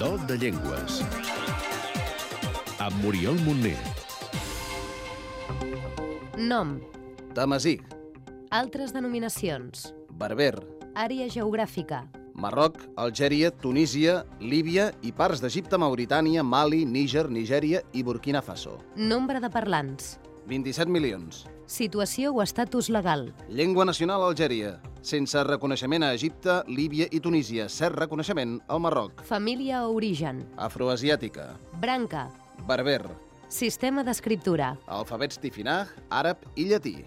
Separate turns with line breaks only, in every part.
Joc de Llengües. Amb Muriel Montner.
Nom,
Tamasí,
altres denominacions,
Berber,
àrea geogràfica,
Marroc, Algèria, Tunísia, Líbia i parts d'Egipte, Mauritània, Mali, Níger, Nigèria i Burkina Faso.
nombre de parlants,
27 milions.
situació o estatus legal,
Llengua nacional Algèria. Sense reconeixement a Egipte, Líbia i Tunísia. Cert reconeixement al Marroc.
família o origen,
Afroasiàtica.
branca,
Berber.
sistema d'escriptura,
Alfabets tifinagh, àrab i llatí.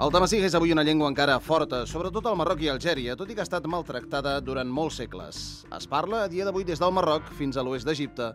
El tamasig és avui una llengua encara forta, sobretot al Marroc i Algèria, tot i que ha estat maltractada durant molts segles. Es parla a dia d'avui des del Marroc fins a l'oest d'Egipte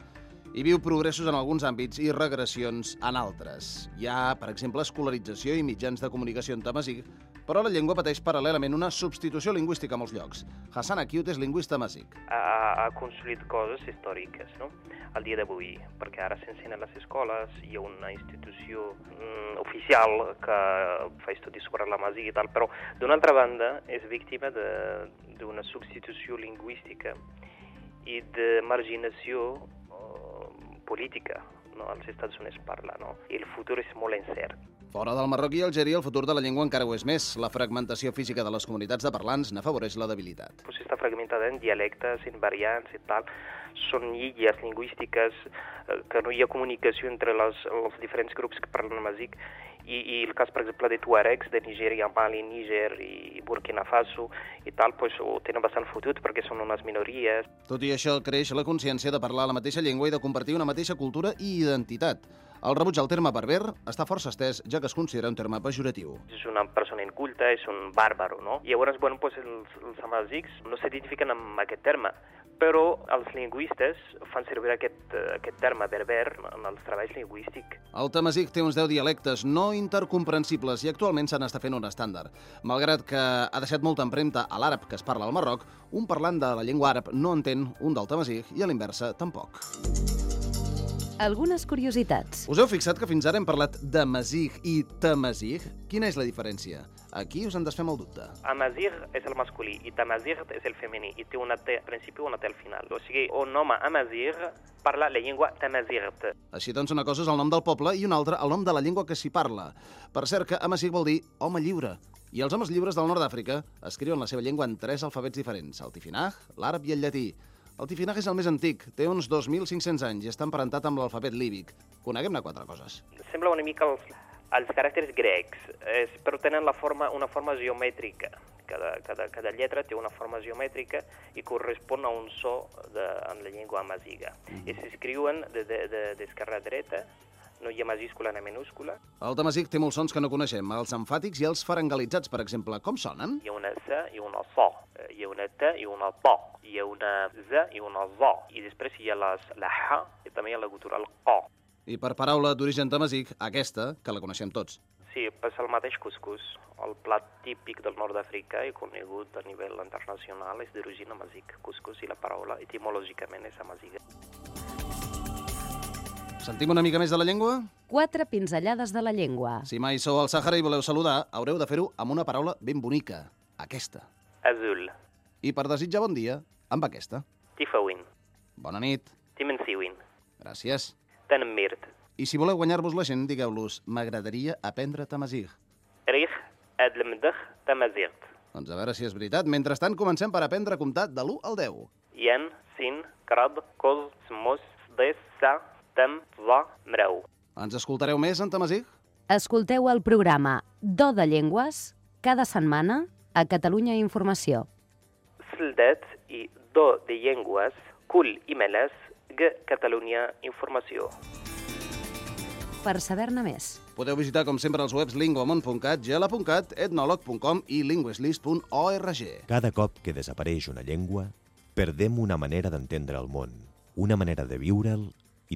i viu progressos en alguns àmbits i regressions en altres. Hi ha, per exemple, escolarització i mitjans de comunicació en tamasig, però la llengua pateix paral·lelament una substitució lingüística a molts llocs. Hassan Akiut és lingüista masic.
ha, ha construït coses històriques no? al dia d'avui, perquè ara s'ensenya a les escoles, hi ha una institució mm, oficial que fa estudis sobre la masiga i tal, però d'una altra banda és víctima de- d'una substitució lingüística i de marginació eh, política no? als Estats Units parla, no? I el futur és molt incert.
Fora del Marroc i Algèria, el futur de la llengua encara ho és més. La fragmentació física de les comunitats de parlants n'afavoreix la debilitat.
pues, està fragmentada en dialectes, en variants i tal. Són illes lingüístiques eh, que no hi ha comunicació entre les, els diferents grups que parlen masic. I, I el cas, per exemple, de Tuaregs, de Nigèria, Mali, Níger i Burkina Faso i tal, pues, ho tenen bastant fotut perquè són unes minories.
Tot i això, creix la consciència de parlar la mateixa llengua i de compartir una mateixa cultura i identitat. El rebuig al terme berber està força estès, ja que es considera un terme pejoratiu.
És una persona inculta, és un bàrbaro, no? I llavors, bueno, pues, els, els amazics no s'identifiquen amb aquest terme, però els lingüistes fan servir aquest, eh, aquest terme berber en els treballs lingüístics
El tamasic té uns 10 dialectes no intercomprensibles i actualment se n'està fent un estàndard. Malgrat que ha deixat molta empremta a l'àrab que es parla al Marroc, un parlant de la llengua àrab no entén un del tamasic i a l'inversa tampoc.
algunes curiositats.
Us heu fixat que fins ara hem parlat de masig i tamasig? Quina és la diferència? Aquí us en desfem el dubte.
Amazigh és el masculí i Tamazigh és el femení i té una T al principi i una T al final. O sigui, un home Amazigh parla la llengua Tamazigh.
Així doncs, una cosa és el nom del poble i una altra el nom de la llengua que s'hi parla. Per cert que amasig vol dir home lliure. I els homes lliures del nord d'Àfrica escriuen la seva llengua en tres alfabets diferents, el tifinagh, l'àrab i el llatí. El tifinagh és el més antic, té uns 2.500 anys i està emparentat amb l'alfabet líbic. Coneguem-ne quatre coses.
Sembla una mica els, els caràcters grecs, és, però tenen la forma, una forma geomètrica. Cada, cada, cada lletra té una forma geomètrica i correspon a un so de, en la llengua amaziga. I s'escriuen d'esquerra de, de, d'esquerra a dreta, no hi ha majúscula ni minúscula,
El tamasic té molts sons que no coneixem, els enfàtics i els farangalitzats, per exemple. Com sonen?
hi ha una S i una SO, eh, hi ha una T i una PO, hi ha una Z i una ZO, i després hi ha les, la H i també hi ha la gutural CO.
I per paraula d'origen tamasic, aquesta, que la coneixem tots.
Sí, passa el mateix cuscús. El plat típic del nord d'Àfrica i conegut a nivell internacional és d'origen amazic, cuscús, i la paraula etimològicament és amaziga.
Sentim una mica més de la llengua?
Quatre pinzellades de la llengua.
Si mai sou al Sàhara i voleu saludar, haureu de fer-ho amb una paraula ben bonica, aquesta.
Azul,
I per desitjar bon dia, amb aquesta.
tifawin,
Bona nit,
timensiwin,
gràcies.
tanmirt,
I si voleu guanyar-vos la gent, digueu-los m'agradaria aprendre tamazig.
rich, adlemdach, tamazirt,
Doncs a veure si és veritat. Mentrestant, comencem per aprendre a comptar de l'1 al 10.
yan, sin, krab, koz, smos, des, sa, tam, va, mreu.
Ens escoltareu més en tamazig?
Escolteu el programa Do de Llengües cada setmana a Catalunya Informació.
Soldat i do de llengües, cul i melès, g Catalunya Informació.
Per saber-ne més.
Podeu visitar, com sempre, els webs linguamont.cat, gela.cat, etnolog.com i linguislist.org.
Cada cop que desapareix una llengua, perdem una manera d'entendre el món, una manera de viure'l i